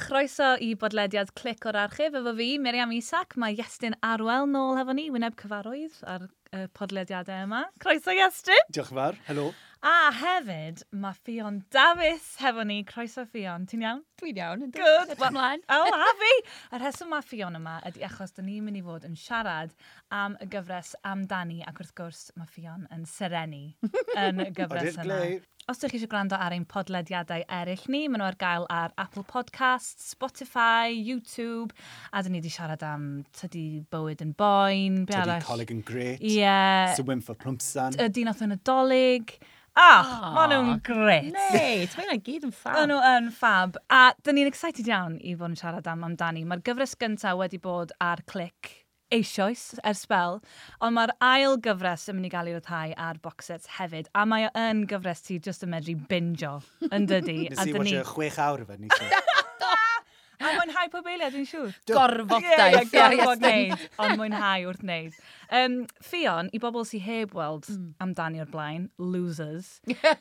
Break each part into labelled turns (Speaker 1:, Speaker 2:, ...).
Speaker 1: Croeso i bodlediad clic o'r archif efo fi, Miriam Isac. Mae Iestyn Arwel nôl efo ni, wyneb cyfarwydd ar y podlediadau yma. Croeso Iestyn!
Speaker 2: Diolch yn fawr, helo.
Speaker 1: A hefyd, mae Fion Davies hefo ni. Croeso Fion, ti'n iawn?
Speaker 3: Dwi'n iawn. yndw.
Speaker 1: Good.
Speaker 3: Edrych ymlaen.
Speaker 1: O, a fi! Y rheswm mae Fion yma ydy achos da ni'n mynd i fod yn siarad am y gyfres amdani ac wrth gwrs mae Fion yn serenu yn y gyfres
Speaker 2: Oeddi'r
Speaker 1: yna.
Speaker 2: glei.
Speaker 1: Os ydych chi eisiau gwrando ar ein podlediadau eraill ni, maen nhw ar gael ar Apple Podcasts, Spotify, YouTube, a dyn ni wedi siarad am tydi bywyd yn boen, be
Speaker 2: Ydy
Speaker 1: arall?
Speaker 2: coleg yn gret.
Speaker 1: Ie,
Speaker 2: Sy'n wymff o plwmsan.
Speaker 1: y dinath yn y dolyg. Ah, oh, maen nhw'n gret.
Speaker 3: Neit, mae yna gyd yn
Speaker 1: Maen
Speaker 3: ffan.
Speaker 1: nhw yn ffab. A dyn ni'n excited iawn i fod yn siarad am amdani. Mae'r gyfres gyntaf wedi bod ar clic eisoes ers spel, ond mae'r ail gyfres yn mynd i gael ei ryddhau ar box sets hefyd, a mae o yn gyfres ti jyst yn medru binjo yn dydi.
Speaker 2: Nes i
Speaker 1: dyn
Speaker 2: watcha chwech awr efo ni.
Speaker 1: A mwynhau pob eiliad, dwi'n siŵr.
Speaker 3: Gorfodaeth.
Speaker 1: Ie, ie, gorfod wneud, ond mwynhau wrth wneud. Um, Fion, i bobl sy'n heb weld amdani o'r blaen, losers,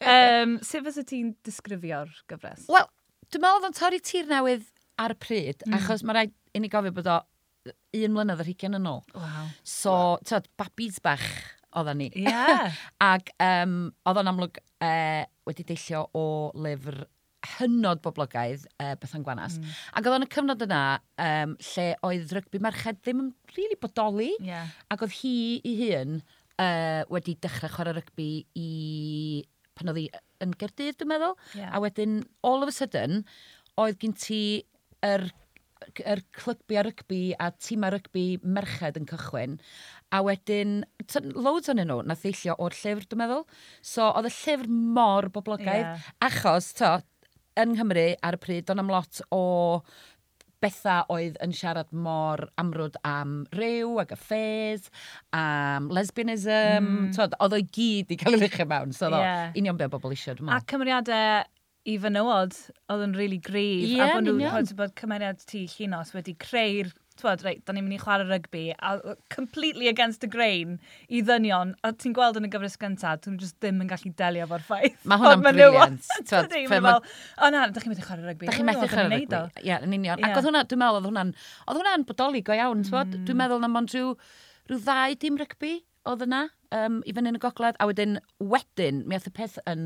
Speaker 1: um, sut fysa ti'n disgrifio'r gyfres?
Speaker 3: Wel, dwi'n meddwl oedd o'n torri tir newydd ar y pryd, achos mae rhaid i ni gofio bod o un mlynedd ar hugen yn ôl.
Speaker 1: Wow.
Speaker 3: So, tyd, babis bach oedden ni.
Speaker 1: Ie. Yeah.
Speaker 3: Ac um, oedd o'n amlwg uh, wedi deillio o lyfr hynod boblogaidd uh, Bethan Gwanas. Ac oedd o'n y cyfnod yna um, lle oedd rygbi merched ddim yn rili really bodoli.
Speaker 1: Ie.
Speaker 3: Ac oedd hi i hun uh, wedi dechrau chwarae rygbi i pan oedd hi yn Gerdydd, dwi'n meddwl.
Speaker 1: Ie.
Speaker 3: A wedyn, all of a sudden, oedd gen ti yr yr clygbi a rygbi a tîm a rygbi merched yn cychwyn a wedyn t- loads o'n nhw na ddeillio o'r llyfr dwi'n meddwl so oedd y llyfr mor boblogaidd
Speaker 1: Ie.
Speaker 3: achos to yng Nghymru ar y pryd do'n am lot o betha oedd yn siarad mor amrwd am ryw ac affairs, am lesbianism, mm. tod, oedd o'i gyd i cael ei luchio mewn, so yeah.
Speaker 1: Ie.
Speaker 3: union be o bobl eisiau, dwi'n
Speaker 1: A
Speaker 3: meddwl.
Speaker 1: cymeriadau i fenywod oedd yn really grif.
Speaker 3: Ie,
Speaker 1: a bod nhw,
Speaker 3: yn union.
Speaker 1: bod, bod cymeriad ti llinos wedi creu'r Twod, reit, da ni'n mynd i chwarae rygbi, a completely against the grain i ddynion, a ti'n gweld yn y gyfres gyntaf, ti'n just ddim yn gallu delio efo'r ffaith.
Speaker 3: Ma' hwnna'n
Speaker 1: Ond menywod,
Speaker 3: brilliant. T'wod,
Speaker 1: Tydi,
Speaker 3: fe
Speaker 1: maen nhw
Speaker 3: ma-
Speaker 1: fel, o na, da chi'n methu chwarae rygbi.
Speaker 3: Da
Speaker 1: Wel,
Speaker 3: chi'n methu
Speaker 1: wel, 'dan ni'n
Speaker 3: chyrraedd
Speaker 1: neud o."
Speaker 3: rygbi. Ie, yn union.
Speaker 1: Ie.
Speaker 3: Ac oedd hwnna, dwi'n meddwl, oedd hwna'n, oedd hwna'n bodoli go iawn, mm. dwi'n meddwl na mond rhyw, rhyw ddau dim rygbi oedd yna, um, i fyny yn y gogledd, a wedyn, wedyn, mi ath y peth yn,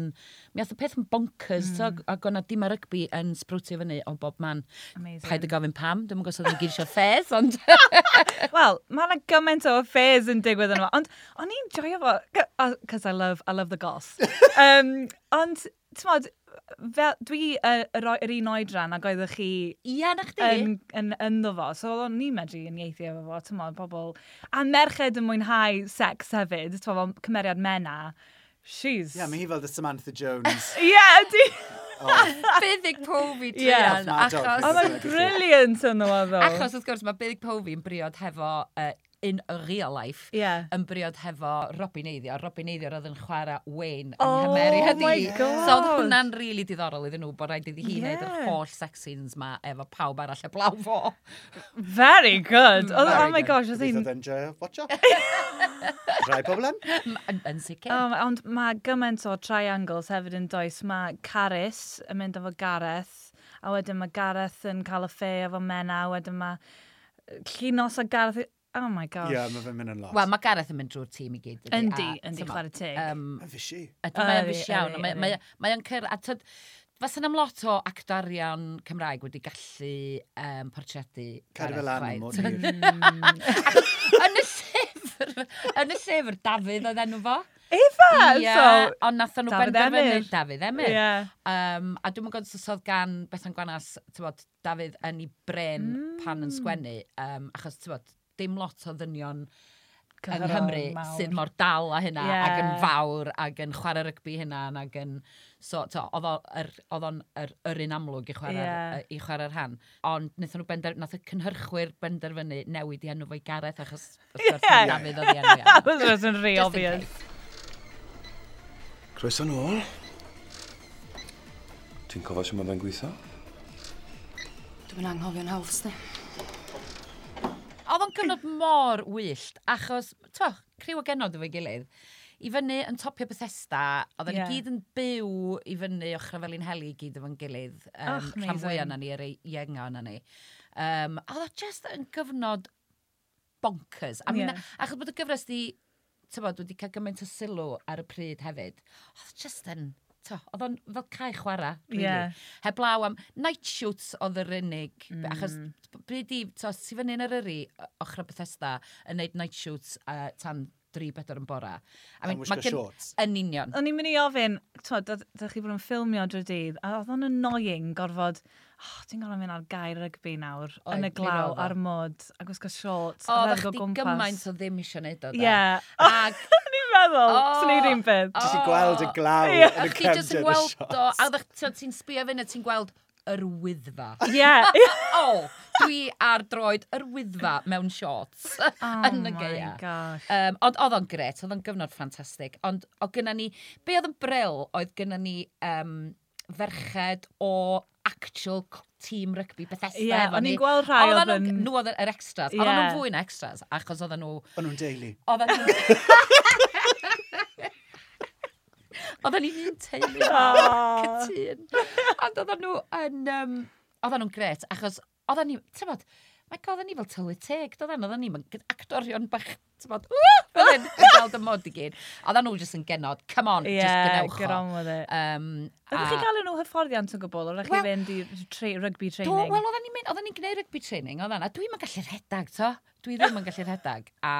Speaker 3: mi ath y peth yn bonkers, mm. ac o'na dim a rygbi yn sbrwtio fyny o bob man.
Speaker 1: Amazing.
Speaker 3: Paid y gofyn pam, dwi'n gwybod os oedd yn gyrsio ffes, ond...
Speaker 1: Wel, mae yna gymaint o affairs yn digwydd yno. Ond o'n i'n joio fo, because I love, I love the goss. um, ond, ti'n modd, fel- dwi yy, yr o- yr un oedran ac oeddech chi
Speaker 3: Ie, na chdi?
Speaker 1: yn, yn, ynddo fo, so o'n ni'n medru yn ieithio efo fo, ti'n modd, pobl. A merched yn mwynhau sex hefyd, ti'n modd, cymeriad mena. She's...
Speaker 2: Ie, mae hi fel the Samantha Jones.
Speaker 1: Ie, di...
Speaker 3: Byddig pofi
Speaker 1: Ie.
Speaker 3: druan,
Speaker 2: Mad dog,
Speaker 1: O,
Speaker 2: byddig.
Speaker 3: achos...
Speaker 1: mae'n brilliant yn o ddo.
Speaker 3: Achos, wrth gwrs, mae byddig pofi yn briod hefo uh, in real life.
Speaker 1: Ie.
Speaker 3: yn briod hefo Robin Eiddio. Robin Eiddio roedd yn chwarae Wayne yn
Speaker 1: Oh
Speaker 3: Hymeri
Speaker 1: my
Speaker 3: hynny.
Speaker 1: God.
Speaker 3: So oedd hwnna'n rili really diddorol iddyn nhw bod rhaid iddi hi
Speaker 1: Ie.
Speaker 3: wneud yr holl sex scenes ma efo pawb arall y blaw fo.
Speaker 1: Very good. Oh,
Speaker 3: Mm, Very
Speaker 1: oh my
Speaker 3: good.
Speaker 1: gosh, oedd hi'n
Speaker 2: Bydd oedd yn joio watcha. Rai bobl yn.
Speaker 3: M- Yn, yn sicr.
Speaker 1: Um, ond mae gymaint o triangles hefyd yn does. Mae Caris yn mynd efo Gareth, a wedyn mae Gareth yn cael y ffe efo Mena, a wedyn mae Llinos a Gareth... Oh my gosh.
Speaker 2: Ie, mae fe'n mynd yn lot.
Speaker 3: Wel, mae Gareth yn mynd drwy'r tîm i gyd. dydi?
Speaker 1: Yndi,
Speaker 3: A,
Speaker 1: yndi,
Speaker 3: t'mo,
Speaker 1: chwarae Oh, teg.
Speaker 3: yym,
Speaker 2: Mae'n fishy.
Speaker 3: Ydw, mae o'n
Speaker 1: Ydi,
Speaker 3: fish iawn.
Speaker 1: ydi,
Speaker 3: Mae-
Speaker 1: ydi.
Speaker 3: mae- Mae o'n cyr... A tyd, fas yna am lot o actorion Cymraeg wedi gallu um, portreadu
Speaker 2: Cadw fe lan yn
Speaker 3: chwaith.
Speaker 2: mor hir.
Speaker 3: Yn y llyfr, yn y llyfr, Dafydd oedd enw fo.
Speaker 1: Efa!
Speaker 3: Ie, ond nath nhw
Speaker 1: Dafydd
Speaker 3: benderfynu
Speaker 1: Emyr.
Speaker 3: Dafydd
Speaker 1: So,
Speaker 3: Emyr.
Speaker 1: yeah.
Speaker 3: Um, a dwi'n gwybod os oedd gan Bethan Gwanas, tywod, Dafydd yn ei bren mm. pan yn sgwennu, um, achos tywod, dim lot o ddynion yng Nghymru sydd mor dal a hynna,
Speaker 1: Ie.
Speaker 3: ac yn fawr, ac yn chwarae rygbi hynna, ac yn... So, to, oedd o- yr- oedd o'n yr, yr un amlwg i chwarae'r
Speaker 1: Ie.
Speaker 3: i chwarae'r rhan. Ond nath, nhw bender, nath y cynhyrchwyr benderfynu newid i enw fo'i Gareth, achos wrth gwrs
Speaker 1: Ie.
Speaker 3: Dafydd oedd i enw iawn.
Speaker 1: That was just yn rhy
Speaker 3: Just in
Speaker 1: obvious.
Speaker 4: Croeso nôl. Ti'n cofio sy'n mynd yn gweithio?
Speaker 5: Dwi'n mynd anghofio'n hawdd, sdi.
Speaker 3: Oedd o'n cyfnod mor wyllt, achos, toch, criw o genod efo'i gilydd. i fyny yn topio Bethesda, oedden yeah.
Speaker 1: Ie.
Speaker 3: ni gyd yn byw i fyny ochr fel un heli i gyd efo'n gilydd. Um,
Speaker 1: Och, amazing.
Speaker 3: rhan fwyaf na ni, yr ienga na ni. Um, a oedd o just yn gyfnod bonkers. A
Speaker 1: Ie.
Speaker 3: yeah. achos bod y gyfres di, tybod, wedi cael gymaint o sylw ar y pryd hefyd, oedd o just yn, to, oedd o'n fel cae chwarae, really.
Speaker 1: Ie.
Speaker 3: Yeah. Heblaw am night shoots oedd yr unig, mm. achos b- bryd i, to, si fyny yn yr yri, ochr y Bethesda, yn neud night shoots uh, tan 3-4 yn bora. I
Speaker 2: Am wisgo shorts.
Speaker 3: Yn union.
Speaker 1: O'n i'n mynd i ofyn, twod, ydych chi bod yn ffilmio drwy dydd, a oedd o'n annoying gorfod, oh, ti'n gorfod mynd ar gair rygbi nawr,
Speaker 3: Oedd,
Speaker 1: yn y
Speaker 3: mi
Speaker 1: glaw,
Speaker 3: roedd o.
Speaker 1: ar mod, a gwisgo shorts,
Speaker 3: O,
Speaker 1: a
Speaker 3: ddech
Speaker 1: rhedeg o
Speaker 3: chdi
Speaker 1: gwmpas.
Speaker 3: gymaint o ddim eisiau neud o da.
Speaker 1: Ie.
Speaker 3: Ac
Speaker 1: O'n i'n meddwl,
Speaker 3: O,
Speaker 1: sy'n neud un peth.
Speaker 2: Ti'n gweld y glaw
Speaker 1: Ie.
Speaker 2: yn y
Speaker 3: chi jyst
Speaker 2: cefnod
Speaker 3: yn
Speaker 2: y
Speaker 3: gweld
Speaker 2: shot.
Speaker 3: o, a ddech- t'od, ti'n sbio fyny, ti'n gweld yr wyddfa.
Speaker 1: Ie.
Speaker 3: O, dwi ar droed yr wyddfa mewn shorts yn y
Speaker 1: Oh
Speaker 3: geia.
Speaker 1: my gosh.
Speaker 3: Um, ond oedd o'n gret, oedd o'n gyfnod ffantastig. Ond oedd gynna ni, be oedd yn bryl oedd gynna ni um, ferched o actual c- tîm rygbi Bethesda.
Speaker 1: Ie,
Speaker 3: efo
Speaker 1: o'n
Speaker 3: ni.
Speaker 1: i'n gweld rhai
Speaker 3: Oedden
Speaker 1: oedd
Speaker 3: nhw'n-
Speaker 1: yn-
Speaker 3: Nhw oedd yr extras.
Speaker 1: Ie.
Speaker 3: Oedden nhw'n fwy na extras, achos oedden nhw...
Speaker 2: O'n nhw'n deulu.
Speaker 3: Oedden nhw... Oedden ni'n un teulu
Speaker 1: Oh. O.
Speaker 3: cytun. Ond oedden nhw yn... Um, oedden nhw'n gret, achos oedden ni... Tybod, mae god, oedden ni fel tylu teg, oedden oedden ni fel actorion bach... Tybod, ww! Fel hyn, yn gweld y mod i gyd. Oedden nhw jyst yn genod, come on,
Speaker 1: Ie,
Speaker 3: just gynewch o.
Speaker 1: get on with it.
Speaker 3: Um,
Speaker 1: Ydych chi gael nhw hyfforddiant yn gwbl, oeddech chi
Speaker 3: Wel-
Speaker 1: fynd i tra- rugby
Speaker 3: Do,
Speaker 1: training?
Speaker 3: wel, oedden ni'n mynd, oedden ni'n gwneud rugby training, oedden, a dwi'm yn gallu rhedag, to. Dwi ddim yn gallu rhedag, a,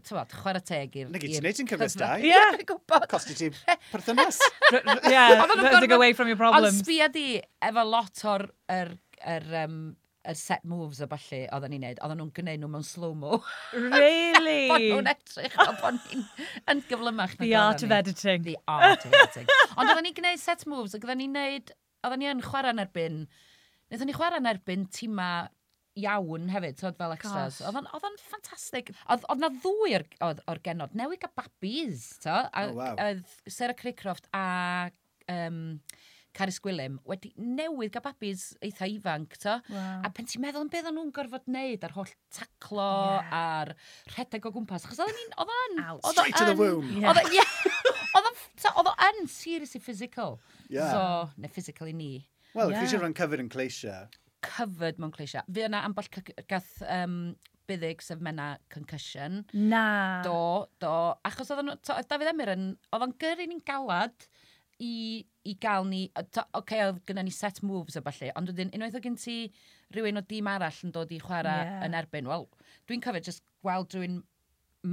Speaker 3: tybod, chwarae teg i'r...
Speaker 2: Nag i
Speaker 3: i'r
Speaker 2: ti'n neud yn cyfres da.
Speaker 3: cyfnod.
Speaker 1: Ie.
Speaker 3: Ie, dwi'n gwybod.
Speaker 2: Costi ti perthynas.
Speaker 1: R- r- Yeah,
Speaker 3: Oedden nhw'n
Speaker 1: rhedeg
Speaker 3: gorfod-
Speaker 1: away from your
Speaker 3: Ond
Speaker 1: problems.
Speaker 3: sbia di, efo lot o'r er, er, um, er set moves o falle, oedden ni'n neud, oedden nhw'n gwneud nhw mewn slow-mo. Bod
Speaker 1: Really?
Speaker 3: nhw'n edrych, a bod ni'n yn gyflymach. na
Speaker 1: The art of
Speaker 3: oedden ni.
Speaker 1: editing.
Speaker 3: The art of editing. Ond oedden ni'n gwneud set moves, ac oedden ni'n neud, oedden ni yn chwarae yn erbyn, wnaethon ni chwarae yn erbyn tima iawn hefyd, tyd fel extras.
Speaker 1: Gosh.
Speaker 3: Oedd o'n- Oedd o'n ffantastig. Oedd oedd na ddwy o'r, oedd- o'r genod. Newi a babis, to. A,
Speaker 2: Oh, wow.
Speaker 3: Oedd Sarah Craycroft a um, Caris Gwilym wedi newydd gael babis eitha ifanc, to.
Speaker 1: Wow.
Speaker 3: A pen ti'n meddwl yn beth o'n nhw'n gorfod neud ar holl taclo a'r rhedeg o gwmpas. Chos oedd o'n... Oedd o'n...
Speaker 1: Ouch.
Speaker 3: oedd o
Speaker 2: Straight to the
Speaker 3: yn-
Speaker 2: womb.
Speaker 1: Mm. Ie.
Speaker 3: Oedd o- ie. Oedd o'n- t'o, oedd o yn seriously physical.
Speaker 2: Yeah.
Speaker 3: So, neu physical i ni.
Speaker 2: Wel, chi
Speaker 1: Yeah.
Speaker 2: eisiau rhan cyfyr yn cleisio.
Speaker 3: Covered mewn cleisia. Fe yna amball c- gath um, byddig sef mena concussion.
Speaker 1: Na.
Speaker 3: Do, do. Achos oedd, o'n- t'o, oedd Dafydd Emyr yn... Oedd o'n gyrru ni'n galad i, i gael ni... o- t'o, Oce, okay, oedd gyda ni set moves o falle, ond wedyn unwaith oedd gen ti rhywun o dîm arall yn dod i chwarae
Speaker 1: Ie.
Speaker 3: yeah. yn erbyn, wel, dwi'n cofio just gweld rhywun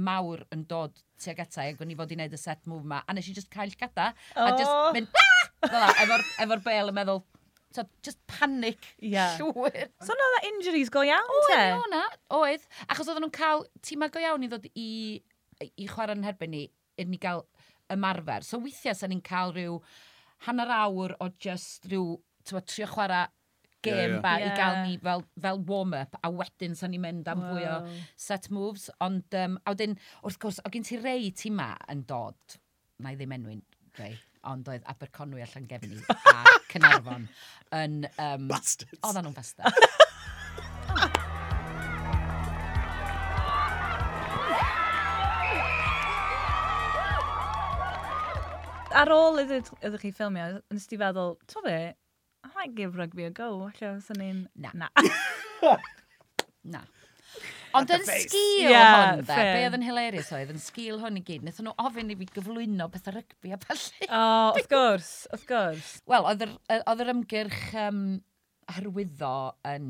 Speaker 3: mawr yn dod tuag ata i ac o'n i fod i wneud y set move ma a nes i just cael gada a just
Speaker 1: Oh.
Speaker 3: mynd "Ah!" fel 'na, efo'r efo bel yn meddwl so, just panic
Speaker 1: Ie.
Speaker 3: llwyr
Speaker 1: So no, that injuries go iawn, te?
Speaker 3: Oedd, o'na, oedd. Achos oedden nhw'n cael tîma go iawn i ddod i, i chwarae yn herbyn ni, i'r ni gael ymarfer. So weithiau sa'n ni'n cael rhyw hanner awr o just rhyw, ti'n trio chwarae gêm yeah,
Speaker 2: Ie, ie.
Speaker 3: yeah. ba yeah.
Speaker 1: Ie.
Speaker 3: i gael ni fel, fel warm-up a wedyn sa'n ni'n mynd am fwy o
Speaker 1: Wow.
Speaker 3: set moves. Ond, um, a wedyn, wrth gwrs, o gen ti rei tîma yn dod, na i ddim enwyn rei, ond oedd Aberconwy a Llangefni a Cynarfon yn... Um,
Speaker 2: Bastards.
Speaker 3: Oedden nhw'n fasta.
Speaker 1: Ar ôl ydych ydych chi ffilmio, nes ti feddwl, to be, I might give rugby a go. Alla, swn i'n...
Speaker 3: Na.
Speaker 1: Na.
Speaker 3: Na. Ond yn
Speaker 2: face.
Speaker 3: sgil
Speaker 1: Ie,
Speaker 3: hwn, de,
Speaker 1: fair.
Speaker 3: be oedd yn hilarious oedd, yn sgil hwn i gyd, wnaethon nhw ofyn i fi gyflwyno beth ar rygbi a falle.
Speaker 1: O, wrth gwrs, wrth gwrs.
Speaker 3: Wel, oedd yr- yy, oedd yr ymgyrch um, hyrwyddo yn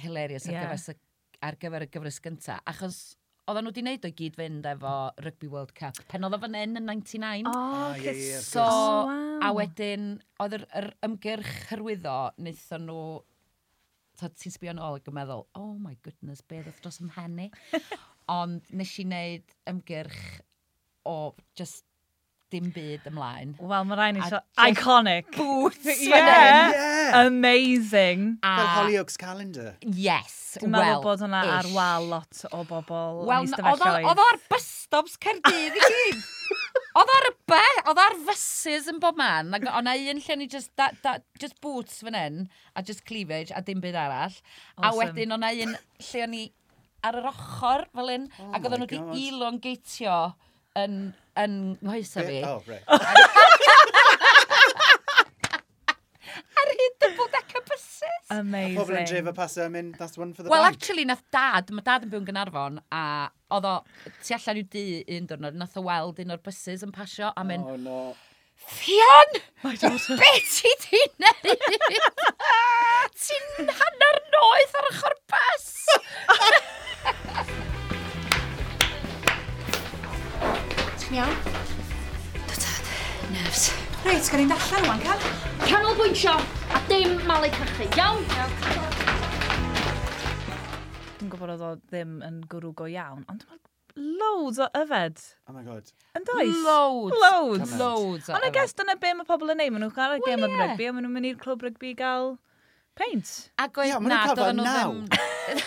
Speaker 3: hilarious
Speaker 1: Ie.
Speaker 3: ar, gyfer, y- ar gyfer y gyfres gynta, achos oedden nhw wedi wneud o'i gyd fynd efo Rugby World Cup. Pen oedd o fan hyn yn 99.
Speaker 1: O,
Speaker 2: Ah, ie, ie,
Speaker 1: cys-
Speaker 2: wrth
Speaker 3: So,
Speaker 1: Oh,
Speaker 3: a
Speaker 1: wow.
Speaker 3: wedyn, oedd yr, yr ymgyrch hyrwyddo, wnaethon nhw, t'od, ti'n sbio yn ôl ac yn meddwl, oh my goodness, be ddoth dros ym mhen i. Ond nes i wneud ymgyrch o just dim byd ymlaen.
Speaker 1: Wel, mae rhaid ni
Speaker 3: A
Speaker 1: sio...
Speaker 3: just-
Speaker 1: Iconic.
Speaker 3: Bwts!
Speaker 1: Yeah.
Speaker 2: Yeah.
Speaker 1: Amazing.
Speaker 2: Fel Hollyoaks calendar.
Speaker 3: Yes,
Speaker 1: Dwi'n meddwl bod hwnna ar wal lot o bobl
Speaker 3: Wel,
Speaker 1: yn eistedd
Speaker 3: n- oedd o- oedd o ar bus stops Caerdydd i gyd. Oedd o'r be, oedd o'r fysys yn bob man, ac o'na un lle ni just, da, da, just boots fan hyn, a just cleavage, a dim byd arall. A
Speaker 1: Awesome.
Speaker 3: wedyn o'na un lle o'n i ar yr ochr fel hyn,
Speaker 2: Oh
Speaker 3: ac oedden
Speaker 2: my
Speaker 3: nhw wedi
Speaker 2: God.
Speaker 3: elongatio yn, yn nghoesa fi.
Speaker 2: Oh, right.
Speaker 3: Ar hyd double decker buses.
Speaker 1: Amazing.
Speaker 2: Pobl yn dref y pasio, I mean, that's one for the
Speaker 3: Wel,
Speaker 2: bank.
Speaker 3: actually, nath dad, mae dad yn byw yn Gynarfon, a oedd o, tu allan i'w dŷ un diwrnod, nath o weld un o'r buses yn pasio, a mynd,
Speaker 2: Oh, no.
Speaker 3: Fion!
Speaker 1: My daughter.
Speaker 3: Be ti di neud? Ti'n hanner noeth ar ochr bus!
Speaker 5: Ti'n iawn? Nerfs. Reit, gan i'n darllen rwan, cael.
Speaker 4: Canolbwyntio a dim malu cachu, iawn?
Speaker 1: Dwi'n gwybod oedd o ddim yn gwrw go iawn, ond mae'n loads o yfed.
Speaker 2: Oh, my God.
Speaker 1: Yn does?
Speaker 3: Loads.
Speaker 1: Loads.
Speaker 3: Loads.
Speaker 1: Ond I guess dyna be mae pobl yn neud. Maen nhw'n chwarae
Speaker 3: Wel,
Speaker 1: gêm o'r
Speaker 3: ie.
Speaker 1: rygbi a maen nhw'n mynd i'r clwb rygbi i gael paint.
Speaker 3: Ac oedd
Speaker 2: Ie, ma' nhw'n
Speaker 3: na,
Speaker 2: cael fel
Speaker 3: doedden nhw
Speaker 2: naw.
Speaker 3: ddim...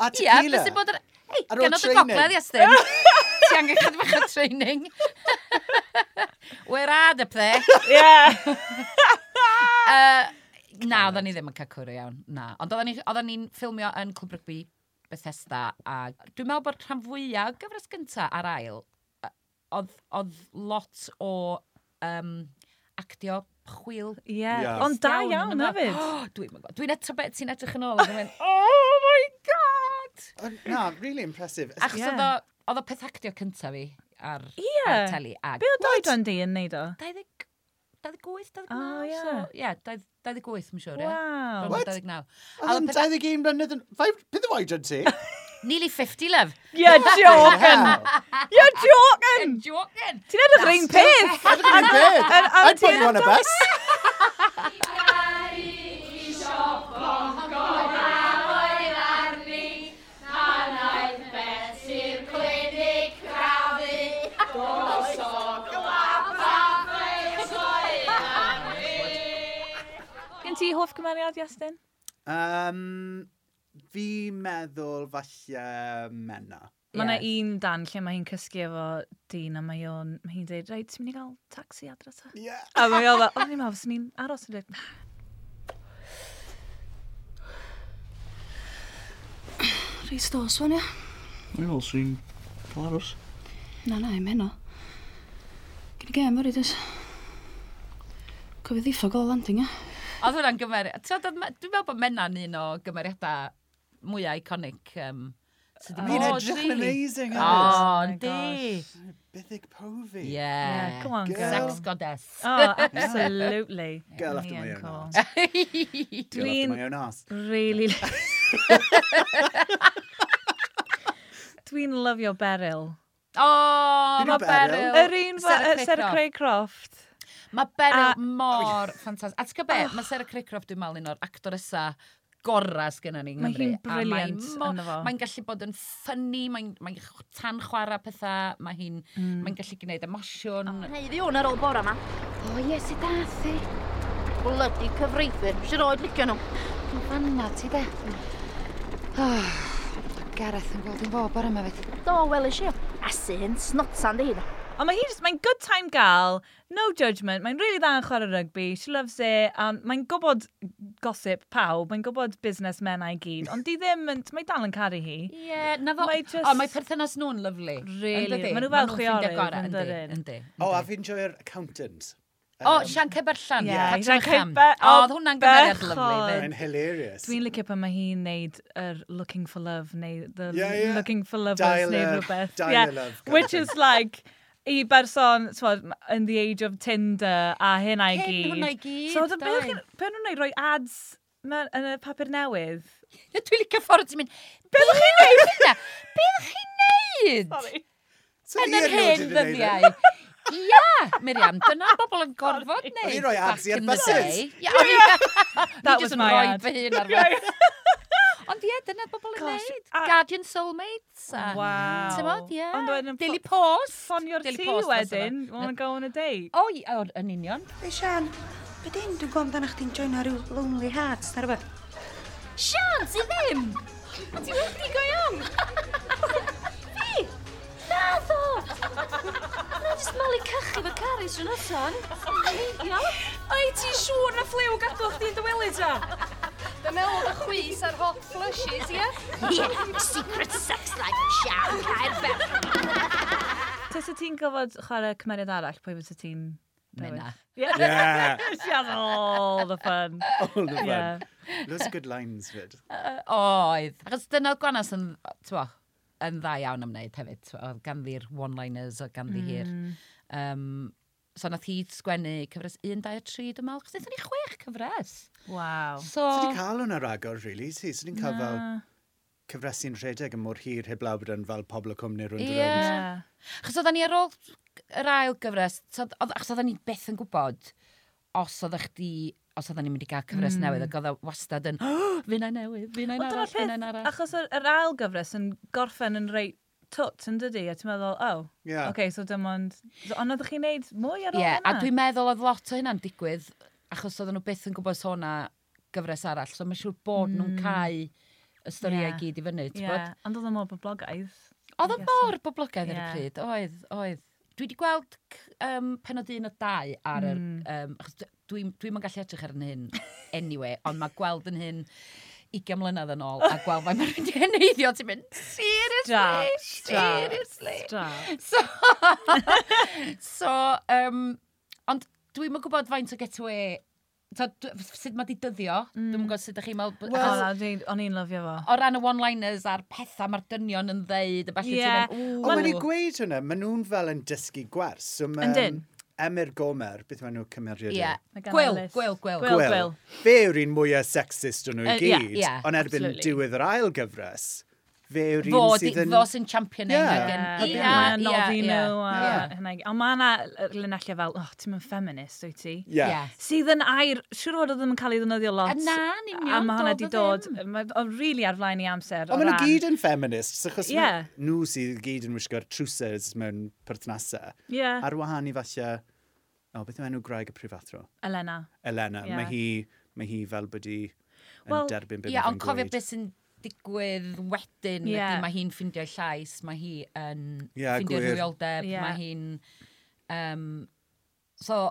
Speaker 2: A
Speaker 3: Ie,
Speaker 2: tequila.
Speaker 3: bys i bod yn... Ei,
Speaker 2: Ar ôl
Speaker 3: gan oedd y
Speaker 2: training.
Speaker 3: gogledd, Iestyn. Ti angen chyd bach o training. We're hard up there.
Speaker 1: Ie.
Speaker 3: Uh, na, oedden ni ddim yn cael cwrw iawn. Na. Ond oedden ni- oedden ni'n ffilmio yn Clwb Rygbi Bethesda, a dwi'n meddwl bod rhan fwyaf, gyfres gyntaf a'r ail, yy, oedd, oedd lot o um, actio chwil.
Speaker 1: Ie.
Speaker 2: Ie.
Speaker 1: Ond da
Speaker 3: yn
Speaker 1: iawn
Speaker 3: yma.
Speaker 1: hefyd.
Speaker 3: Oh, dwi'n meddwl. Dwi'n eto beth ti'n edrych yn ôl. ac yn mynd, oh my god!
Speaker 2: Oh, Na, really impressive.
Speaker 3: Achos
Speaker 1: Ie.
Speaker 3: yeah. oedd o peth actio cyntaf fi ar,
Speaker 1: Ie.
Speaker 3: ar teli. Ag,
Speaker 1: Be oedd oedran di yn neud o?
Speaker 3: 20 28, 29.
Speaker 1: O, ie.
Speaker 3: So, ie, 28, mi'n siŵr, ie.
Speaker 1: Waw.
Speaker 3: Rhwng y
Speaker 2: What?
Speaker 3: 29.
Speaker 2: Oedd yn
Speaker 3: Oedd o'n
Speaker 2: 21 blynedd yn... Five... Bydd y oed yn ti?
Speaker 3: Nearly 50, love.
Speaker 1: You're
Speaker 3: Oh,
Speaker 1: joking!
Speaker 2: Hell.
Speaker 1: You're joking!
Speaker 3: Yn joking.
Speaker 1: Ti'n edrych yr un peth!
Speaker 2: Edrych yn beth.
Speaker 1: Yn- yn-
Speaker 2: I'd put you on a bus.
Speaker 1: Gen ti hoff cymeriad, Iestyn?
Speaker 2: Um, fi meddwl falle Menna.
Speaker 1: Mae yna
Speaker 3: Ie.
Speaker 1: un dan lle mae hi'n cysgu efo dyn a mae o'n, mae hi'n dweud, reit, ti'n mynd i gael taxi adre ta?
Speaker 2: Yeah.
Speaker 1: A mae o'n dweud, o, ni'n meddwl, sy'n ni'n aros yn dweud,
Speaker 5: Reit dos, fan, ia?
Speaker 6: Wel, sy'n cael aros.
Speaker 5: Na, na, i'm heno. Gyn i gem, ori, dys. Cofio ddiffog o landing, ia?
Speaker 3: Oedd hwnna'n gymeriad. Dwi'n meddwl bod Menna'n un o gymeriadau mwyaf iconic. Um, sydd wedi
Speaker 2: Fi'n
Speaker 3: bod
Speaker 2: edrych
Speaker 3: rili.
Speaker 2: yn amazing.
Speaker 3: O,
Speaker 2: hefyd.
Speaker 1: Oh my
Speaker 3: yndi.
Speaker 2: Bythic pofi.
Speaker 1: yeah,
Speaker 3: Yeah.
Speaker 1: come on,
Speaker 2: Girl.
Speaker 1: girl.
Speaker 3: Sex goddess.
Speaker 1: Oh, absolutely.
Speaker 2: Girl after
Speaker 1: Ie,
Speaker 2: my own
Speaker 1: cool.
Speaker 2: heart. Girl after
Speaker 1: Dwi'n
Speaker 2: my own arse.
Speaker 1: really... Dwi'n lyfio Beryl.
Speaker 3: O,
Speaker 2: Dwi'n
Speaker 3: mae
Speaker 2: o Beryl.
Speaker 1: Yr
Speaker 3: Beryl.
Speaker 1: un fa- yy, Sarah
Speaker 3: Croft.
Speaker 1: Craig Croft. A-
Speaker 3: Mae
Speaker 1: Oh.
Speaker 3: Beryl mor ffantastig. A ti'n gwybod be, mae Sarah Craycroft dwi'n meddwl un o'r actoresa gorau sgynna ni yng
Speaker 1: Mae
Speaker 3: Nghymru.
Speaker 1: hi'n
Speaker 3: A mae
Speaker 1: brilliant
Speaker 3: mo-
Speaker 1: ynddo fo.
Speaker 3: Mae'n gallu bod yn ffynnu, mae'n mae tan chwarae pethau, mae hi'n
Speaker 1: Mm.
Speaker 3: mae'n gallu gwneud emosiwn.
Speaker 1: Oh,
Speaker 4: Hei, fi hwn ar ôl bora ma. O ie, sut dath e? i? Blydi cyfreithwyr, sy'n roed licio nhw.
Speaker 5: Yn fanna ti, de. Oh, Gareth yn gweld yn bob ar yma fyd.
Speaker 4: Do, wel eisiau. A sy'n snotsan di hyn.
Speaker 1: Ond mae hi just, mae'n good time gal, no judgment, mae'n really dda yn chwarae rygbi, she loves it, a mae'n gwybod gossip pawb, mae'n gwybod busnes mennau i gyd, ond di ddim yn, mae dal yn caru hi.
Speaker 3: Ie, na ddo.
Speaker 1: Mae just-
Speaker 3: O, mae perthynas nhw'n lyflu.
Speaker 1: Really,
Speaker 3: Yndydi?
Speaker 1: ma' nhw fel
Speaker 3: Ma' nhw'n ffrindiau
Speaker 1: chwiorydd,
Speaker 3: gorau,
Speaker 1: yndydyn?
Speaker 3: Yndi, yndi.
Speaker 2: O, a fi'n joio'r accountant.
Speaker 3: O, Sian Ceberllan.
Speaker 1: Ie,
Speaker 3: Catrin
Speaker 1: Sian
Speaker 3: Cam.
Speaker 1: Cebe-
Speaker 3: O,
Speaker 1: o,
Speaker 3: oedd hwnna'n gymeriad
Speaker 1: bechod.
Speaker 3: lyflu. fyd.
Speaker 2: Mae'n hilarious.
Speaker 1: Dwi'n licio pan mae hi'n neud yr looking for love neu the
Speaker 2: Ie, ie.
Speaker 1: looking for lovers
Speaker 2: Dial
Speaker 1: neu
Speaker 2: y-
Speaker 1: rhywbeth.
Speaker 2: dial y love kind
Speaker 1: Which
Speaker 2: of
Speaker 1: is like, i berson, twod, in the age of Tinder a hynna i
Speaker 3: Hyn,
Speaker 1: gyd.
Speaker 3: hwnna i gyd,
Speaker 1: So, oedd y
Speaker 3: dau.
Speaker 1: beth- pe nhw'n neud roi ads ma- yn y papur newydd?
Speaker 3: Dwi'n licio ffordd ti'n mynd, beth ydych chi'n neud hynna? Beth ydych chi'n neud?
Speaker 1: Sorry.
Speaker 2: So
Speaker 3: Yn yr
Speaker 2: Ian
Speaker 3: hen
Speaker 2: Lord yn neud e.
Speaker 3: ddyddiau. Ia, Miriam, dyna bobl yn gorfod neud.
Speaker 2: O'n i'n rhoi
Speaker 3: back
Speaker 2: ads i ar
Speaker 3: in the
Speaker 2: buses.
Speaker 3: day. Ia, o'n i-
Speaker 1: That was
Speaker 3: Ni jyst yn
Speaker 1: my
Speaker 3: rhoi
Speaker 1: ad.
Speaker 3: fy hun ar fe. Ond ie, dyna bobl yn
Speaker 1: Gosh,
Speaker 3: neud.
Speaker 1: a-
Speaker 3: Guardian Soulmates. a-
Speaker 1: Wow.
Speaker 3: T'mod, ie.
Speaker 1: Ond wedyn yn
Speaker 3: Daily
Speaker 1: ffo-
Speaker 3: Post.
Speaker 1: Ffonio'r
Speaker 3: Daily
Speaker 1: ti
Speaker 3: Post fysa fe.
Speaker 1: wedyn, want to go on a date.
Speaker 3: O, i- o, yn union.
Speaker 7: Ei, Sian, beth un dwi'n gwybod amdano chdi'n joino rhyw Lonely Hearts, na rhywbeth?
Speaker 4: Sian, ti ddim! A ti wedi go iawn? Fi? Na ddo! Na, jyst malu cachu fy caru sy'n allan. Ai, ti'n siŵr na fflew gadw chdi'n dywelu ta? Fe mewn y chwys ar hot flushes, ie? Yeah? yeah, secret sex life, Sian, cael
Speaker 1: Tys y ti'n gofod chwarae cymeriad arall, pwy fysa ti'n... dewis?
Speaker 3: Menna.
Speaker 1: Yeah.
Speaker 2: Yeah.
Speaker 1: She has all the fun.
Speaker 2: All the fun.
Speaker 1: Yeah.
Speaker 2: Those are good lines, fyd.
Speaker 3: Oedd. Achos dyna oedd gwanas yn, t'wo, yn dda iawn am wneud hefyd. t'wo, Oedd ganddi'r one-liners o ganddi hir. Um, so nath hi sgwennu cyfres 1, 2, 3 dwi'n meddwl. Chos ni chwech cyfres.
Speaker 1: Wow.
Speaker 3: So,
Speaker 2: So
Speaker 1: Oh.
Speaker 2: ni'n cael hwnna ragor, really, ti? So ni'n cael fel cyfresu'n rhedeg yn mor hir heblaw bod yn fel pobl o cwmni rwy'n
Speaker 3: Ie.
Speaker 2: yeah.
Speaker 1: Yeah.
Speaker 3: achos oedden ni ar ôl yr ail gyfres, so, oedd- achos oedden ni beth yn gwybod os oedd chdi os oedden ni'n mynd i gael cyfres mm. newydd, ac oedd o wastad yn, oh, fy'n ei newydd, fy'n ei
Speaker 1: Ond dyna
Speaker 3: arall, fy'n ei
Speaker 1: peth,
Speaker 3: arall.
Speaker 1: achos yr, yr ail gyfres yn gorffen yn rei twt yn dydi, a ti'n meddwl, oh,
Speaker 2: Ie.
Speaker 1: okay, so dim ond... So, ond oeddech chi'n neud mwy ar
Speaker 3: Ie,
Speaker 1: ôl
Speaker 3: yeah, a
Speaker 1: hwnna?
Speaker 3: dwi'n meddwl oedd lot o hynna'n digwydd, achos oedden nhw byth yn gwybod sôn na gyfres arall, so mae'n siŵr bod mm. nhw'n cael y storiau
Speaker 1: Ie.
Speaker 3: yeah. gyd i fyny, ti'n
Speaker 1: Ie,
Speaker 3: yeah.
Speaker 1: ond oedd yn mor boblogaidd.
Speaker 3: Oedd o
Speaker 1: I guess
Speaker 3: mor boblogaidd ar y
Speaker 1: Ie.
Speaker 3: pryd, oedd, oedd. Dwi wedi gweld c- um, penod un o dau ar yr...
Speaker 1: Mm.
Speaker 3: Um, achos d- dwi'n dwi gallu edrych ar yn hyn anyway, ond mae gweld yn hyn 20 mlynedd yn ôl, a gweld mae'n mynd i heneiddio, ti'n mynd,
Speaker 1: Stop,
Speaker 3: seriously,
Speaker 1: stop,
Speaker 3: seriously.
Speaker 1: Stop.
Speaker 3: So, so um, ond dwi'm yn gwybod faint o getaway, so, dw- sut mae di dyddio, mm. dwi'm yn gwybod sut ydych chi'n meddwl,
Speaker 1: O,
Speaker 3: well,
Speaker 1: na, dwi'n- o'n i'n lyfio fo.
Speaker 3: o ran y one-liners a'r pethau mae'r dynion yn ddeud, a falle
Speaker 1: Ie.
Speaker 2: O,
Speaker 3: ti'n
Speaker 2: mae'n i
Speaker 3: meddwl,
Speaker 2: gweud hwnna, maen nhw'n fel yn dysgu gwers. So ma,
Speaker 1: Yndyn.
Speaker 2: Emyr Gomer, beth maen nhw cymeriad?
Speaker 3: Ie,
Speaker 1: Mae gan
Speaker 3: gwyl,
Speaker 1: Elis.
Speaker 3: gwyl, gwyl.
Speaker 1: Gwyl. Gwel.
Speaker 2: Fe yw'r un mwyaf sexist o'n nhw i
Speaker 1: Yy, ie,
Speaker 2: gyd.
Speaker 3: ie,
Speaker 2: Ond erbyn
Speaker 1: absolutely.
Speaker 2: diwedd yr ail gyfres, fe yw'r
Speaker 3: Fo,
Speaker 2: un
Speaker 3: di,
Speaker 2: sydd yn...
Speaker 3: fo sy'n championing
Speaker 2: Ie.
Speaker 3: again.
Speaker 1: Ie,
Speaker 2: Ie,
Speaker 1: Ie, noddi
Speaker 3: ie.
Speaker 1: nhw. a
Speaker 2: Ie.
Speaker 1: hynna i- Ond mae yna linellau fel, oh, ti'n mynd feminist, wyt ti?
Speaker 2: Ie.
Speaker 3: Ie.
Speaker 1: Sydd yn air, siŵr o fod oedd ddim yn cael ei ddefnyddio lot.
Speaker 3: A na, yn union,
Speaker 1: A mae hwnna
Speaker 3: doedd
Speaker 1: wedi
Speaker 3: o
Speaker 1: dod,
Speaker 3: ddim.
Speaker 1: mae o'n rili ar flaen i amser. o
Speaker 2: Ond maen nhw
Speaker 1: ran-
Speaker 2: gyd yn feminists, achos
Speaker 1: Ie.
Speaker 2: yeah. nhw sydd gyd yn wisgo'r trwsers mewn perthnasau.
Speaker 1: Ie.
Speaker 2: Ar wahan i falle... O, beth yw enw graig y prifathro?
Speaker 1: Elena.
Speaker 2: Elena,
Speaker 1: Ie.
Speaker 2: mae hi, mae hi fel bod hi yn
Speaker 1: Wel,
Speaker 2: derbyn beth
Speaker 3: Ie, ond
Speaker 2: mae'n
Speaker 3: cofio
Speaker 2: gweud.
Speaker 3: beth sy'n digwydd wedyn,
Speaker 1: Ie.
Speaker 3: yeah. mae hi'n ffindio'i llais, mae hi yn
Speaker 2: Ie,
Speaker 3: ffindio
Speaker 2: gwir.
Speaker 3: rhywioldeb,
Speaker 1: Ie.
Speaker 3: mae hi'n... Um, so,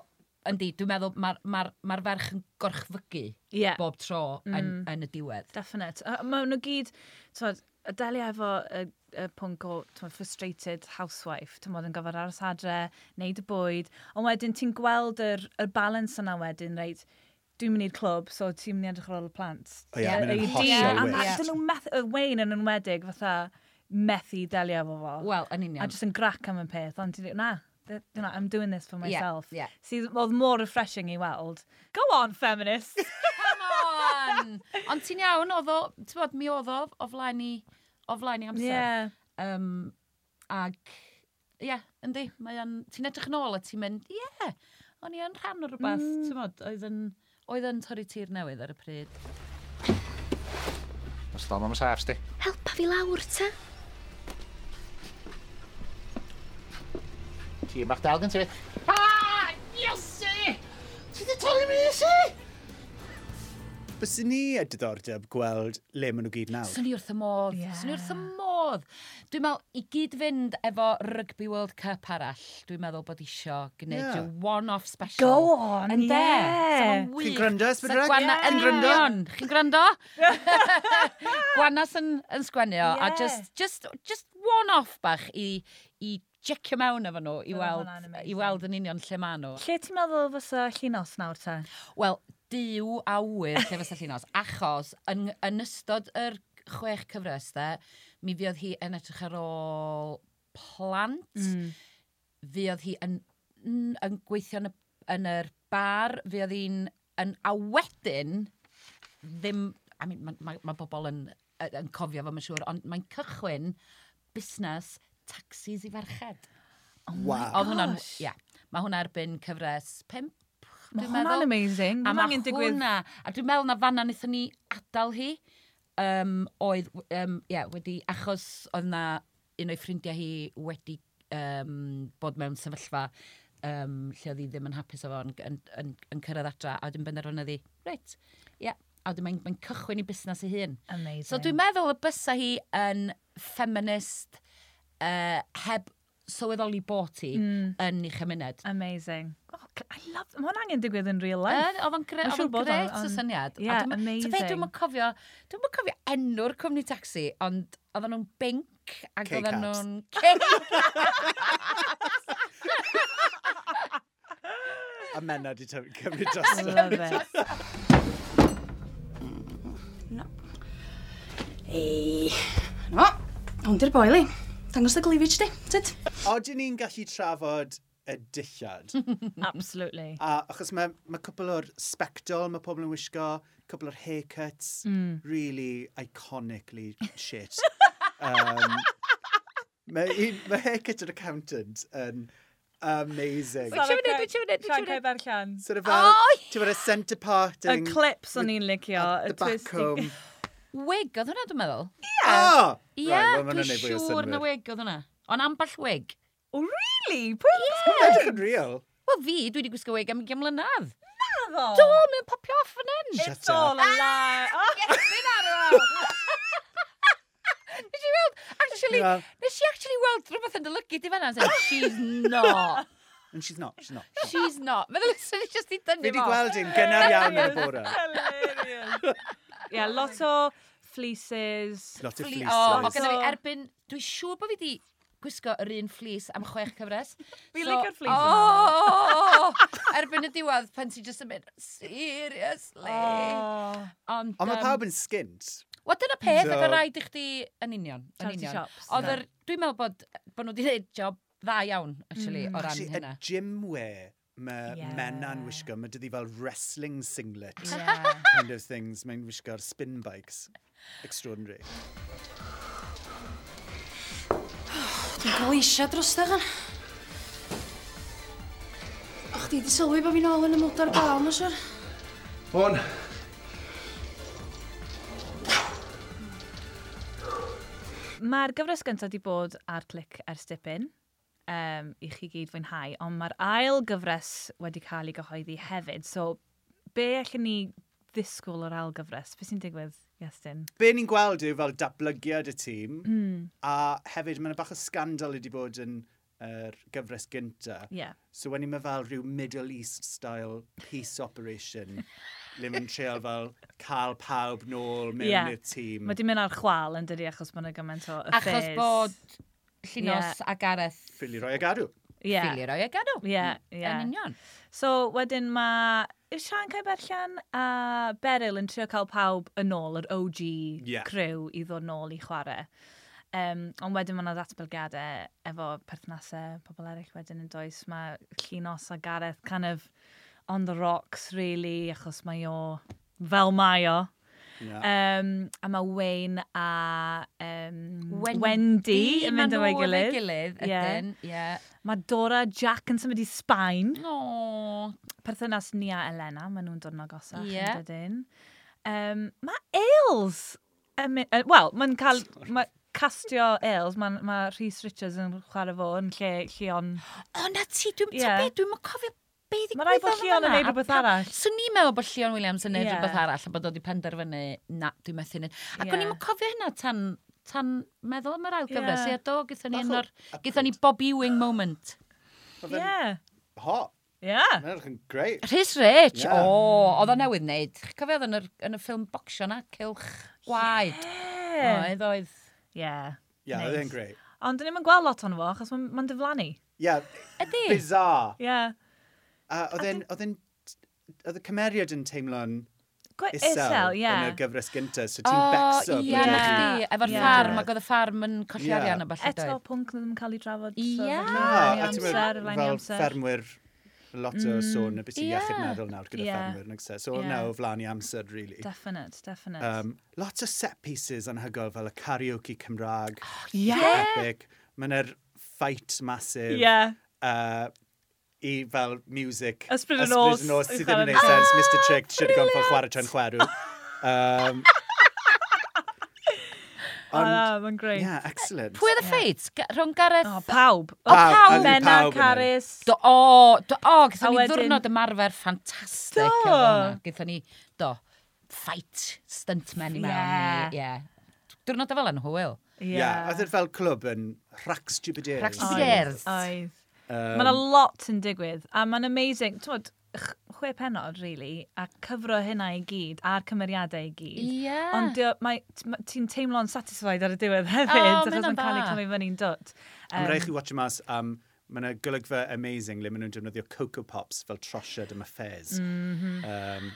Speaker 3: yndi, dwi'n meddwl mae'r ma ma ferch yn gorchfygu
Speaker 1: Ie. Mm.
Speaker 3: bob tro yn, yn y diwedd.
Speaker 1: Definite. A Mae nhw gyd, twod, y delia efo y, y pwnc o twod, frustrated housewife, ti'n modd yn gofod aros adre, neud y bwyd, ond wedyn ti'n gweld yr, yr balance yna wedyn, reit, dwi'n mynd i'r clwb, so ti'n mynd i edrych ar ôl y plant.
Speaker 2: O ie, mae'n yn
Speaker 1: Yy,
Speaker 2: hollol
Speaker 1: dyn- a
Speaker 2: wych.
Speaker 1: ma- dyn nhw meth, y Wayne yn enwedig fatha methu delio efo fo.
Speaker 3: Wel, yn
Speaker 1: a
Speaker 3: union.
Speaker 1: just yn grac am y peth, ond ti'n dweud, na, th- you know, I'm doing this for myself.
Speaker 3: ie.
Speaker 1: Sydd oedd mor refreshing i weld. Go on, feminist!
Speaker 3: Come on! Ond ti'n iawn, oedd o, ti'n bod, mi oedd o, o flaen i, o flaen i amser.
Speaker 1: yeah.
Speaker 3: Um, ag, ie, yeah, yndi, mae o'n, ti'n edrych yn ôl a ti'n mynd, ie, yeah, o'n i yn rhan o rhywbeth, mm. ti'n bod, oedd yn, oedd yn torri tir newydd ar y pryd.
Speaker 8: Os ddol mam saff sti.
Speaker 4: Helpa fi lawr, ta?
Speaker 8: Ti bach dal gen ti.
Speaker 2: Bys ni y diddordeb gweld le maen nhw gyd nawr.
Speaker 3: Swn i wrth y modd,
Speaker 1: Ie.
Speaker 3: yeah. swn i wrth y modd. Dwi'n meddwl, i gyd fynd efo Rugby World Cup arall, dwi'n meddwl bod isio gwneud
Speaker 2: Ie.
Speaker 3: yeah. one-off special.
Speaker 1: Go on,
Speaker 3: Ynde?
Speaker 1: ie.
Speaker 3: So mae'n
Speaker 2: Chi'n
Speaker 3: wych.
Speaker 2: gwrando, Ysbrydrec?
Speaker 3: So gwana-
Speaker 2: Ie.
Speaker 3: Yn
Speaker 2: Chi'n gwrando?
Speaker 3: union. Chi'n gwrando? Gwanas yn, yn sgwennu o, a
Speaker 1: Ie.
Speaker 3: just, just, just one-off bach i, i jecio mewn efo nhw i
Speaker 1: Bydde
Speaker 3: weld,
Speaker 1: hwnna'n amazing.
Speaker 3: i weld yn union lle ma nhw.
Speaker 1: Lle ti'n meddwl fysa llinos nawr ta?
Speaker 3: Wel, diw a wyr lle fysa llinos, achos yn, yn ystod yr chwech cyfres de, mi fiodd hi yn edrych ar ôl plant, fiodd hi yn, n- yn gweithio yn, y, yn yr bar, fiodd hi'n... Yn, a wedyn, ddim... I mean, mae ma, ma bobl yn, yn yn cofio fo, mae'n siŵr, ond mae'n cychwyn busnes taxis i farched.
Speaker 2: Wow.
Speaker 3: Oedd hwnna'n... Ia, mae hwnna erbyn cyfres 5,
Speaker 1: Mae
Speaker 3: dwi'n
Speaker 1: hwnna'n
Speaker 3: meddwl.
Speaker 1: amazing.
Speaker 3: A
Speaker 1: Mae
Speaker 3: ma'
Speaker 1: angen digwydd...
Speaker 3: hwnna, a dwi'n meddwl na fanna wnaethon ni adael hi, um, oedd, um, yeah, wedi, achos oedd na un o'i ffrindiau hi wedi um, bod mewn sefyllfa um, lle oedd hi ddim yn hapus efo yn, yn, yn, yn cyrraedd adra, a dwi'n benderfynu ddi, reit, ia, yeah. a dwi'n mae'n mae cychwyn i busnes ei hun.
Speaker 1: Amazing.
Speaker 3: So dwi'n meddwl y bysa hi yn feminist uh, heb sylweddoli bod hi
Speaker 1: Mm.
Speaker 3: yn ei chymuned.
Speaker 1: Amazing. Oh, c- I love... Mae hwnna angen digwydd yn real life.
Speaker 3: Yn, Oedd o'n gre-
Speaker 1: Mae'n
Speaker 3: oedd o'n
Speaker 1: siŵr bod o,
Speaker 3: gret o
Speaker 1: ond-
Speaker 3: syniad.
Speaker 1: Ie,
Speaker 3: A dwi'm- t'bod be,
Speaker 1: amazing.
Speaker 3: Dwi'm yn cofio, dwi'm yn cofio enw'r cwmni taxi, ond oedden nhw'n binc cake ac
Speaker 2: Cake
Speaker 3: oedden
Speaker 2: abs.
Speaker 3: nhw'n cake
Speaker 2: A mena di tyfu- cymryd dros.
Speaker 1: Love it.
Speaker 7: Ei. No, hwn di'r boili. Dangos dy glifage di, tyd?
Speaker 2: Odyn ni'n gallu trafod y dillad.
Speaker 1: Absolutely.
Speaker 2: A achos mae ma cwpl o'r spectol mae pobl yn wisgo, cwpl o'r haircuts, really iconically shit. um, mae, un, mae haircut yr accountant yn amazing.
Speaker 1: Siarad
Speaker 3: wneud,
Speaker 1: Craig-
Speaker 3: wyt ti'n wneud, wyt
Speaker 1: Siarad
Speaker 3: ti'n wneud?
Speaker 1: Craig Berllan.
Speaker 2: Sort of fel, ti'n bod y centre part
Speaker 1: Y
Speaker 2: yn...
Speaker 1: clips o'n i'n licio.
Speaker 2: The
Speaker 1: y
Speaker 2: back
Speaker 1: twisty-
Speaker 2: home.
Speaker 3: wig oedd hwnna, dwi'n meddwl.
Speaker 2: Oh!
Speaker 3: Ie,
Speaker 2: Right, well, ma' hwnna'n
Speaker 3: dwi'n
Speaker 2: neud fwy o
Speaker 3: siŵr na
Speaker 2: synnwyr.
Speaker 3: wig oedd hwnna. Ond amball wig.
Speaker 1: Oh, really? Pwy
Speaker 2: Mae'n edrych yn real.
Speaker 3: Wel fi, dwi wedi gwisgo wig am 20 mlynedd.
Speaker 1: oedd
Speaker 3: Do,
Speaker 1: o?
Speaker 3: mae'n popio off fan hyn.
Speaker 2: Shut
Speaker 1: It's all a
Speaker 2: up.
Speaker 1: lie.
Speaker 3: Ah,
Speaker 1: Oh,
Speaker 3: Nes i weld, actually,
Speaker 2: Yeah.
Speaker 3: nes i actually weld rhywbeth yn dylygu di fanna. Said, she's not.
Speaker 2: And she's not, she's not.
Speaker 3: She's not. Meddwl, sy'n just i dynnu
Speaker 2: Fi wedi gweld un gynnar iawn yn y bore.
Speaker 1: hilarious. Yeah, lot o fleeces.
Speaker 2: Lot o
Speaker 3: Fle- O, o
Speaker 2: fleeces.
Speaker 3: gyda fi,
Speaker 1: So-
Speaker 3: erbyn, dwi'n siŵr bod fi wedi gwisgo yr un fleece am chwech cyfres.
Speaker 1: Fi licio'r fleece
Speaker 3: O, erbyn y diwedd, pan ti'n just yn mynd, seriously.
Speaker 1: Oh,
Speaker 3: Ond,
Speaker 2: Ond mae
Speaker 3: yym,
Speaker 2: pawb yn skint.
Speaker 3: Wel, dyna peth,
Speaker 2: So-
Speaker 3: ac o rhaid i chdi yn union. Yn
Speaker 1: Charity
Speaker 3: union.
Speaker 1: shops,
Speaker 3: Oedd
Speaker 1: de.
Speaker 3: yr, dwi'n meddwl bod, bod nhw wedi gwneud job dda iawn, actually,
Speaker 1: Mm.
Speaker 3: o ran
Speaker 2: Actually,
Speaker 3: hynna.
Speaker 2: y gym wear mae
Speaker 1: Yeah.
Speaker 2: yeah. mena'n wisgo, mae dydi fel wrestling singlet
Speaker 1: yeah.
Speaker 2: kind of things. Mae'n wisgo'r spin bikes. Extraordinary.
Speaker 7: Dwi'n cael eisiau dros dy gan. Och, di di sylwi bod fi'n ôl yn y mwdar bawn, os yr?
Speaker 6: On.
Speaker 1: Mae'r gyfres gyntaf wedi bod ar clic ers dipyn um, i chi gyd fwynhau, ond mae'r ail gyfres wedi cael ei gyhoeddi hefyd. So, be allan ni ddisgwyl o'r ail gyfres? Be sy'n digwydd, Iestyn?
Speaker 2: Be ni'n gweld yw fel datblygiad y tîm, mm. a hefyd mae'n bach o scandal wedi bod yn yr gyfres gynta.
Speaker 1: Ie. Yeah.
Speaker 2: So wedi mae fel rhyw Middle East style peace operation, le mae'n treol fel cael pawb nôl mewn
Speaker 1: Ie.
Speaker 2: yeah. i'r tîm.
Speaker 1: Mae di mynd ar chwal yn dydi achos bod yna gymaint o affairs.
Speaker 3: Achos bod Llinos
Speaker 1: Ie.
Speaker 3: a Gareth
Speaker 2: Ffili roi a gadw.
Speaker 1: Ie,
Speaker 3: Fili roi a gadw.
Speaker 1: Ie, ie.
Speaker 3: Hmm. Yn union.
Speaker 1: So, wedyn mae yw Sian Cae Berllan a Beryl yn trio cael pawb yn ôl, yr OG
Speaker 2: Ie.
Speaker 1: crew, i ddod nôl i chwarae. Um, ond wedyn mae yna ddatblygiadau efo perthnasau pobl eraill wedyn yn does. Mae Llinos a Gareth kind of on the rocks, really, achos mae o fel mae o.
Speaker 2: Yeah.
Speaker 1: Um, a mae Wayne a um, Wendy, yn mynd
Speaker 3: ma'
Speaker 1: efo'i
Speaker 3: nhw
Speaker 1: gilydd.
Speaker 3: gilydd,
Speaker 1: Ie.
Speaker 3: ydyn. Ie.
Speaker 1: Mae Dora a Jack yn symud i Sbaen
Speaker 3: No.
Speaker 1: perthynas ni a Elena, maen nhw'n dod yn agosach
Speaker 3: Ie.
Speaker 1: yn dydyn. Um, mae Ailes, yn my- yy, wel, mae'n cael, ma castio Ailes, mae ma Rhys Richards yn chwarae fo yn lle Llion.
Speaker 3: O, na ti, dwi'n
Speaker 1: Ie.
Speaker 3: yeah. dwi'n mwyn cofio be ddigwyddodd
Speaker 1: Mae rhaid bod
Speaker 3: yn
Speaker 1: Lleon yn
Speaker 3: fan'na,
Speaker 1: neud
Speaker 3: a
Speaker 1: rhywbeth
Speaker 3: pam-
Speaker 1: arall.
Speaker 3: Swn i'n meddwl bod Lleon Williams yn neud
Speaker 1: Ie.
Speaker 3: rhywbeth arall, a bod oedd i penderfynu, na, dwi'n methu neud. Ac o'n
Speaker 1: Ie.
Speaker 3: i'n cofio hynna tan, tan meddwl am yr ail gyfres.
Speaker 1: Ie.
Speaker 3: Ie, do, gyda ni
Speaker 2: Bach
Speaker 3: un
Speaker 2: o
Speaker 3: o'r, gyda ni
Speaker 2: upgrade.
Speaker 3: Bob Ewing moment.
Speaker 2: Mae fe'n
Speaker 1: Ie,
Speaker 2: hot.
Speaker 1: ie.
Speaker 2: Mae'n edrych yn great.
Speaker 3: Rhys Rich,
Speaker 2: Ie.
Speaker 3: o, oedd o newydd neud. Chi'n Cofio oedd yn yr- yn y ffilm bocsio na, Cilch Gwaed. Oedd, oedd.
Speaker 1: Ie.
Speaker 2: Ie,
Speaker 1: Neis.
Speaker 2: oedd e'n great.
Speaker 1: Ond dyn ni'n gweld lot o'n fo, achos mae'n ma diflannu.
Speaker 2: Ie,
Speaker 3: Ydy.
Speaker 2: bizar.
Speaker 1: Ie.
Speaker 2: A oedd e'n, oedd e'n, oedd y cymeriad yn teimlo'n
Speaker 1: Gwe-
Speaker 2: isel
Speaker 1: Isel,
Speaker 2: yn y
Speaker 1: ie.
Speaker 2: gyfres gyntaf, so
Speaker 3: O,
Speaker 2: ti'n becso. bod
Speaker 3: ie,
Speaker 2: ti'n
Speaker 3: na
Speaker 2: gallu-
Speaker 3: chdi. Efo'r
Speaker 1: Ie.
Speaker 3: ffarm, ac oedd y ffarm yn colli
Speaker 2: Ie.
Speaker 3: arian a falle
Speaker 1: Eto,
Speaker 3: doedd.
Speaker 1: pwnc ddim yn cael ei drafod. so
Speaker 3: Ie.
Speaker 1: flaen Ah, i
Speaker 2: Na, Ah, a ti'n
Speaker 1: amser,
Speaker 2: meddwl,
Speaker 1: flaen i
Speaker 2: fel
Speaker 1: amser. Mm,
Speaker 2: ffermwyr, lot o sôn y beth i
Speaker 3: ie.
Speaker 2: iechyd meddwl nawr gyda
Speaker 1: Ie.
Speaker 2: ffermwyr yn ygse. So
Speaker 1: Ie.
Speaker 2: yeah. o flaen i amser, really.
Speaker 1: Definite, definite.
Speaker 2: Um, lot o set pieces anhygol fel y karaoke Cymraeg,
Speaker 1: Ie.
Speaker 2: epic. Mae'n er fight massive.
Speaker 1: Ie.
Speaker 2: Uh, I fel music.
Speaker 1: Ysbryd yn Oes
Speaker 2: Ysbryd yn os
Speaker 1: yn
Speaker 2: sydd ddim
Speaker 1: chwarae-
Speaker 2: yn neud sens. Mr Trick should have gone for chwarae tra'n chwerw. Um, ond,
Speaker 1: Ah, mae'n great. e?
Speaker 2: yeah, excellent.
Speaker 3: Pwy oedd y ffeit? Ga- Rhwng Gareth...
Speaker 1: O, pawb. O,
Speaker 2: Pawb,
Speaker 1: pawb.
Speaker 2: as in
Speaker 1: Mena,
Speaker 2: pawb yn
Speaker 1: Caris.
Speaker 3: Do, o, do, o, gyda
Speaker 1: A
Speaker 3: ni
Speaker 1: wedyn-
Speaker 3: ddwrnod ymarfer ffantastig.
Speaker 1: Do.
Speaker 3: efo hwnna. Gyda ni, do, fight stuntmen i mewn.
Speaker 1: Ie.
Speaker 3: i- Ie. Diwrnod fel yn hwyl.
Speaker 2: Ie, yeah. oedd e'n fel clwb yn rhac stupidair.
Speaker 3: Rhac
Speaker 1: Oedd,
Speaker 3: Yes.
Speaker 1: Oedd.
Speaker 2: Um,
Speaker 1: Mae yna lot yn digwydd, a mae'n amazing. Twod, ch- chwe penod, really, a cyfro hynna i gyd, a'r cymeriadau i gyd.
Speaker 3: Ie.
Speaker 1: Ond dio- mae- t- ma- ti'n teimlo'n satisfied ar y diwedd hefyd,
Speaker 3: O, ma'
Speaker 1: achos
Speaker 3: hynna'n
Speaker 1: mae'n cael ei
Speaker 3: dda.
Speaker 1: cymryd fyny'n dod.
Speaker 2: Am rai chi watch mas am... Mae yna golygfa amazing le maen nhw'n defnyddio Coco Pops fel trosiad am y ffez. Mm -hmm. um,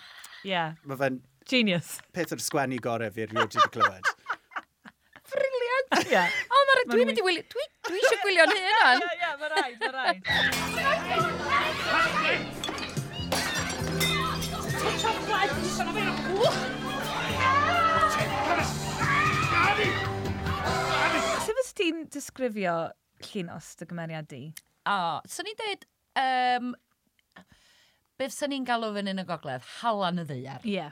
Speaker 1: Yeah,
Speaker 2: mae fe'n
Speaker 1: genius.
Speaker 2: peth o'r sgwennu gorau fi'r rhywbeth wedi clywed.
Speaker 3: Briliant!
Speaker 1: Yeah.
Speaker 3: O, mae'r... Dwi'n mynd i wylio... Dwi, dwi eisiau gwylio'n hyn o'n.
Speaker 1: Ie, ie, mae rhaid, mae rhaid. Sut fes ti'n disgrifio llinos dy gymeriad di?
Speaker 3: O, so ni'n dweud... Um, Beth sy'n ni'n galw fan yn y gogledd? Halan y ddeiar.
Speaker 1: Ie. Yeah.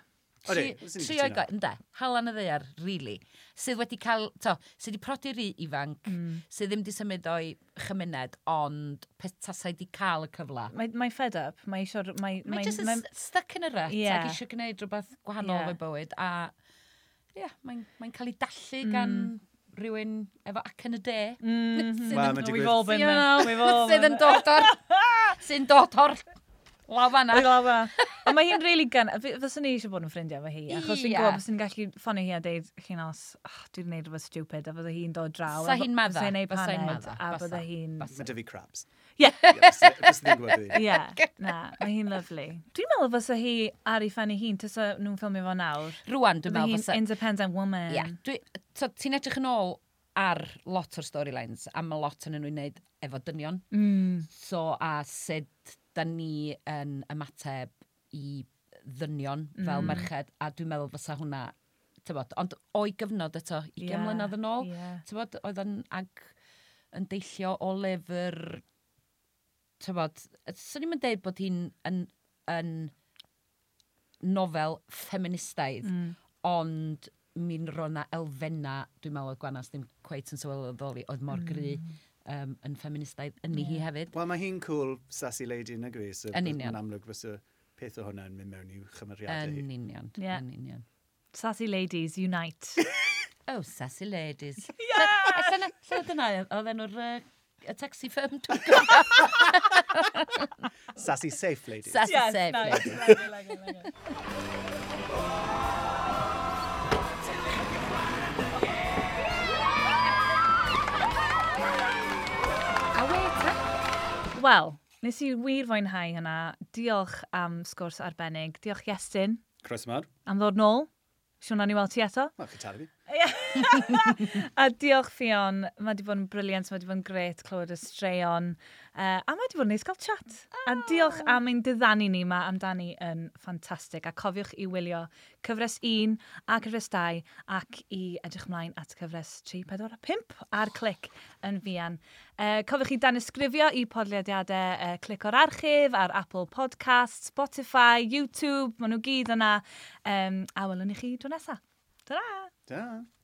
Speaker 2: Odi,
Speaker 3: Tri-
Speaker 2: fyswn i'n
Speaker 3: tri
Speaker 2: cytuno.
Speaker 3: oed go- ynde, halan y ddeiar, really, sydd wedi cael, to, sydd wedi prodi ry ifanc, sydd ddim wedi symud o'i chymuned, ond peth tasau wedi cael y cyfle.
Speaker 1: Mae, mae fed up, mae eisiau... Mae,
Speaker 3: Mae
Speaker 1: mae,
Speaker 3: jyst yn s- stuck yn y rut,
Speaker 1: Ie.
Speaker 3: ac eisiau gwneud rhywbeth gwahanol
Speaker 1: Ie.
Speaker 3: yeah. o'i bywyd, a ie, yeah, mae'n mae cael ei dallu gan rhywun efo ac yn y de. Sydd
Speaker 2: Wel,
Speaker 3: yn-
Speaker 2: mae'n
Speaker 1: We've
Speaker 2: digwydd...
Speaker 1: all been
Speaker 3: You
Speaker 1: there.
Speaker 3: know,
Speaker 1: We've all
Speaker 3: sydd
Speaker 1: been
Speaker 3: yn dod o'r, sy'n dod o'r lafa na.
Speaker 1: Dwi'n gweld hwnna. Ond mae hi'n really gan... fy- Fyswn i eisiau bod yn ffrindiau efo hi, achos fi'n
Speaker 3: Ie.
Speaker 1: gwybod bys yn gallu ffonio hi a deud, chi'n os, oh, dwi'n gwneud rhywbeth stupid, a bydde hi'n dod draw.
Speaker 3: Bysa hi'n madda,
Speaker 1: Fysa'n ei
Speaker 3: bysa hi'n
Speaker 1: paned,
Speaker 3: madda,
Speaker 1: a
Speaker 3: bysa,
Speaker 1: bydde hi'n...
Speaker 3: bysa.
Speaker 2: Mae dyfu crabs.
Speaker 1: Ie.
Speaker 2: Ie.
Speaker 1: Ie, na, mae hi'n lyflu. Dwi'n meddwl fysa hi ar ei ffen i hun, tysa nhw'n ffilmio fo nawr.
Speaker 3: Rwan, dwi'n
Speaker 1: Bydde
Speaker 3: meddwl,
Speaker 1: hi'n
Speaker 3: fysa-
Speaker 1: independent woman.
Speaker 3: Ie, dwi- t'od, ti'n edrych yn ôl ar lot o'r storylines, a mae lot yn nhw'n wneud efo dynion.
Speaker 1: Mm,
Speaker 3: So, a sut da ni yn ymateb i ddynion fel
Speaker 1: Mm.
Speaker 3: merched, a dwi'n meddwl fysa hwnna, tybod, ond o'i gyfnod eto, i
Speaker 1: Ie,
Speaker 3: yeah, mlynedd yn ôl,
Speaker 1: ie.
Speaker 3: tybod, oedd yn ag yn deillio o lyfr, tybod, swn i'n deud bod hi'n yn, yn nofel ffeministaidd, ond mi'n rona elfenna, dwi'n meddwl oedd Gwanas ddim cweit yn sylweddoli, oedd mor gry um, yn ffeministaidd yn yeah. hi hefyd.
Speaker 2: Wel, mae hi'n cool sassy lady yn y gwi, so
Speaker 3: Yn
Speaker 2: bys-
Speaker 3: union.
Speaker 2: Yn amlwg fysa peth o hwnna yn mynd mewn i'w chymeriadau
Speaker 3: Yn
Speaker 2: hi.
Speaker 3: union,
Speaker 1: Ie.
Speaker 3: yn union.
Speaker 1: Sassy ladies, unite.
Speaker 3: Oh, sassy ladies. Yeah! Lle oedd yna, oedd enw'r yy, y taxi firm dwi'n gwybod.
Speaker 2: Sassy safe lady.
Speaker 3: Sassy safe lady. A wait,
Speaker 1: Wel, nes i wir fwynhau hynna. Diolch am sgwrs arbennig. Diolch Iestyn
Speaker 2: Croes mawr.
Speaker 1: am ddod nôl. Siwn na'n i weld ti eto.
Speaker 2: Wel, cytara fi.
Speaker 1: A diolch Fion, mae wedi bod yn briliant, mae wedi bod yn gret clywed y straeon. Uh, a mae wedi bod yn neis cael chat. A diolch am ein diddanu ni yma amdani yn ffantastig. A cofiwch i wylio cyfres 1 a cyfres 2 ac i edrych ymlaen at cyfres 3, 4 a 5 a'r clic yn fian. Uh, cofiwch i danysgrifio i podlediadau uh, clic o'r archif ar Apple Podcasts, Spotify, YouTube, maen nhw gyd yna. Um, a welwn i chi dwi'n nesaf. Ta-ra!
Speaker 2: Da.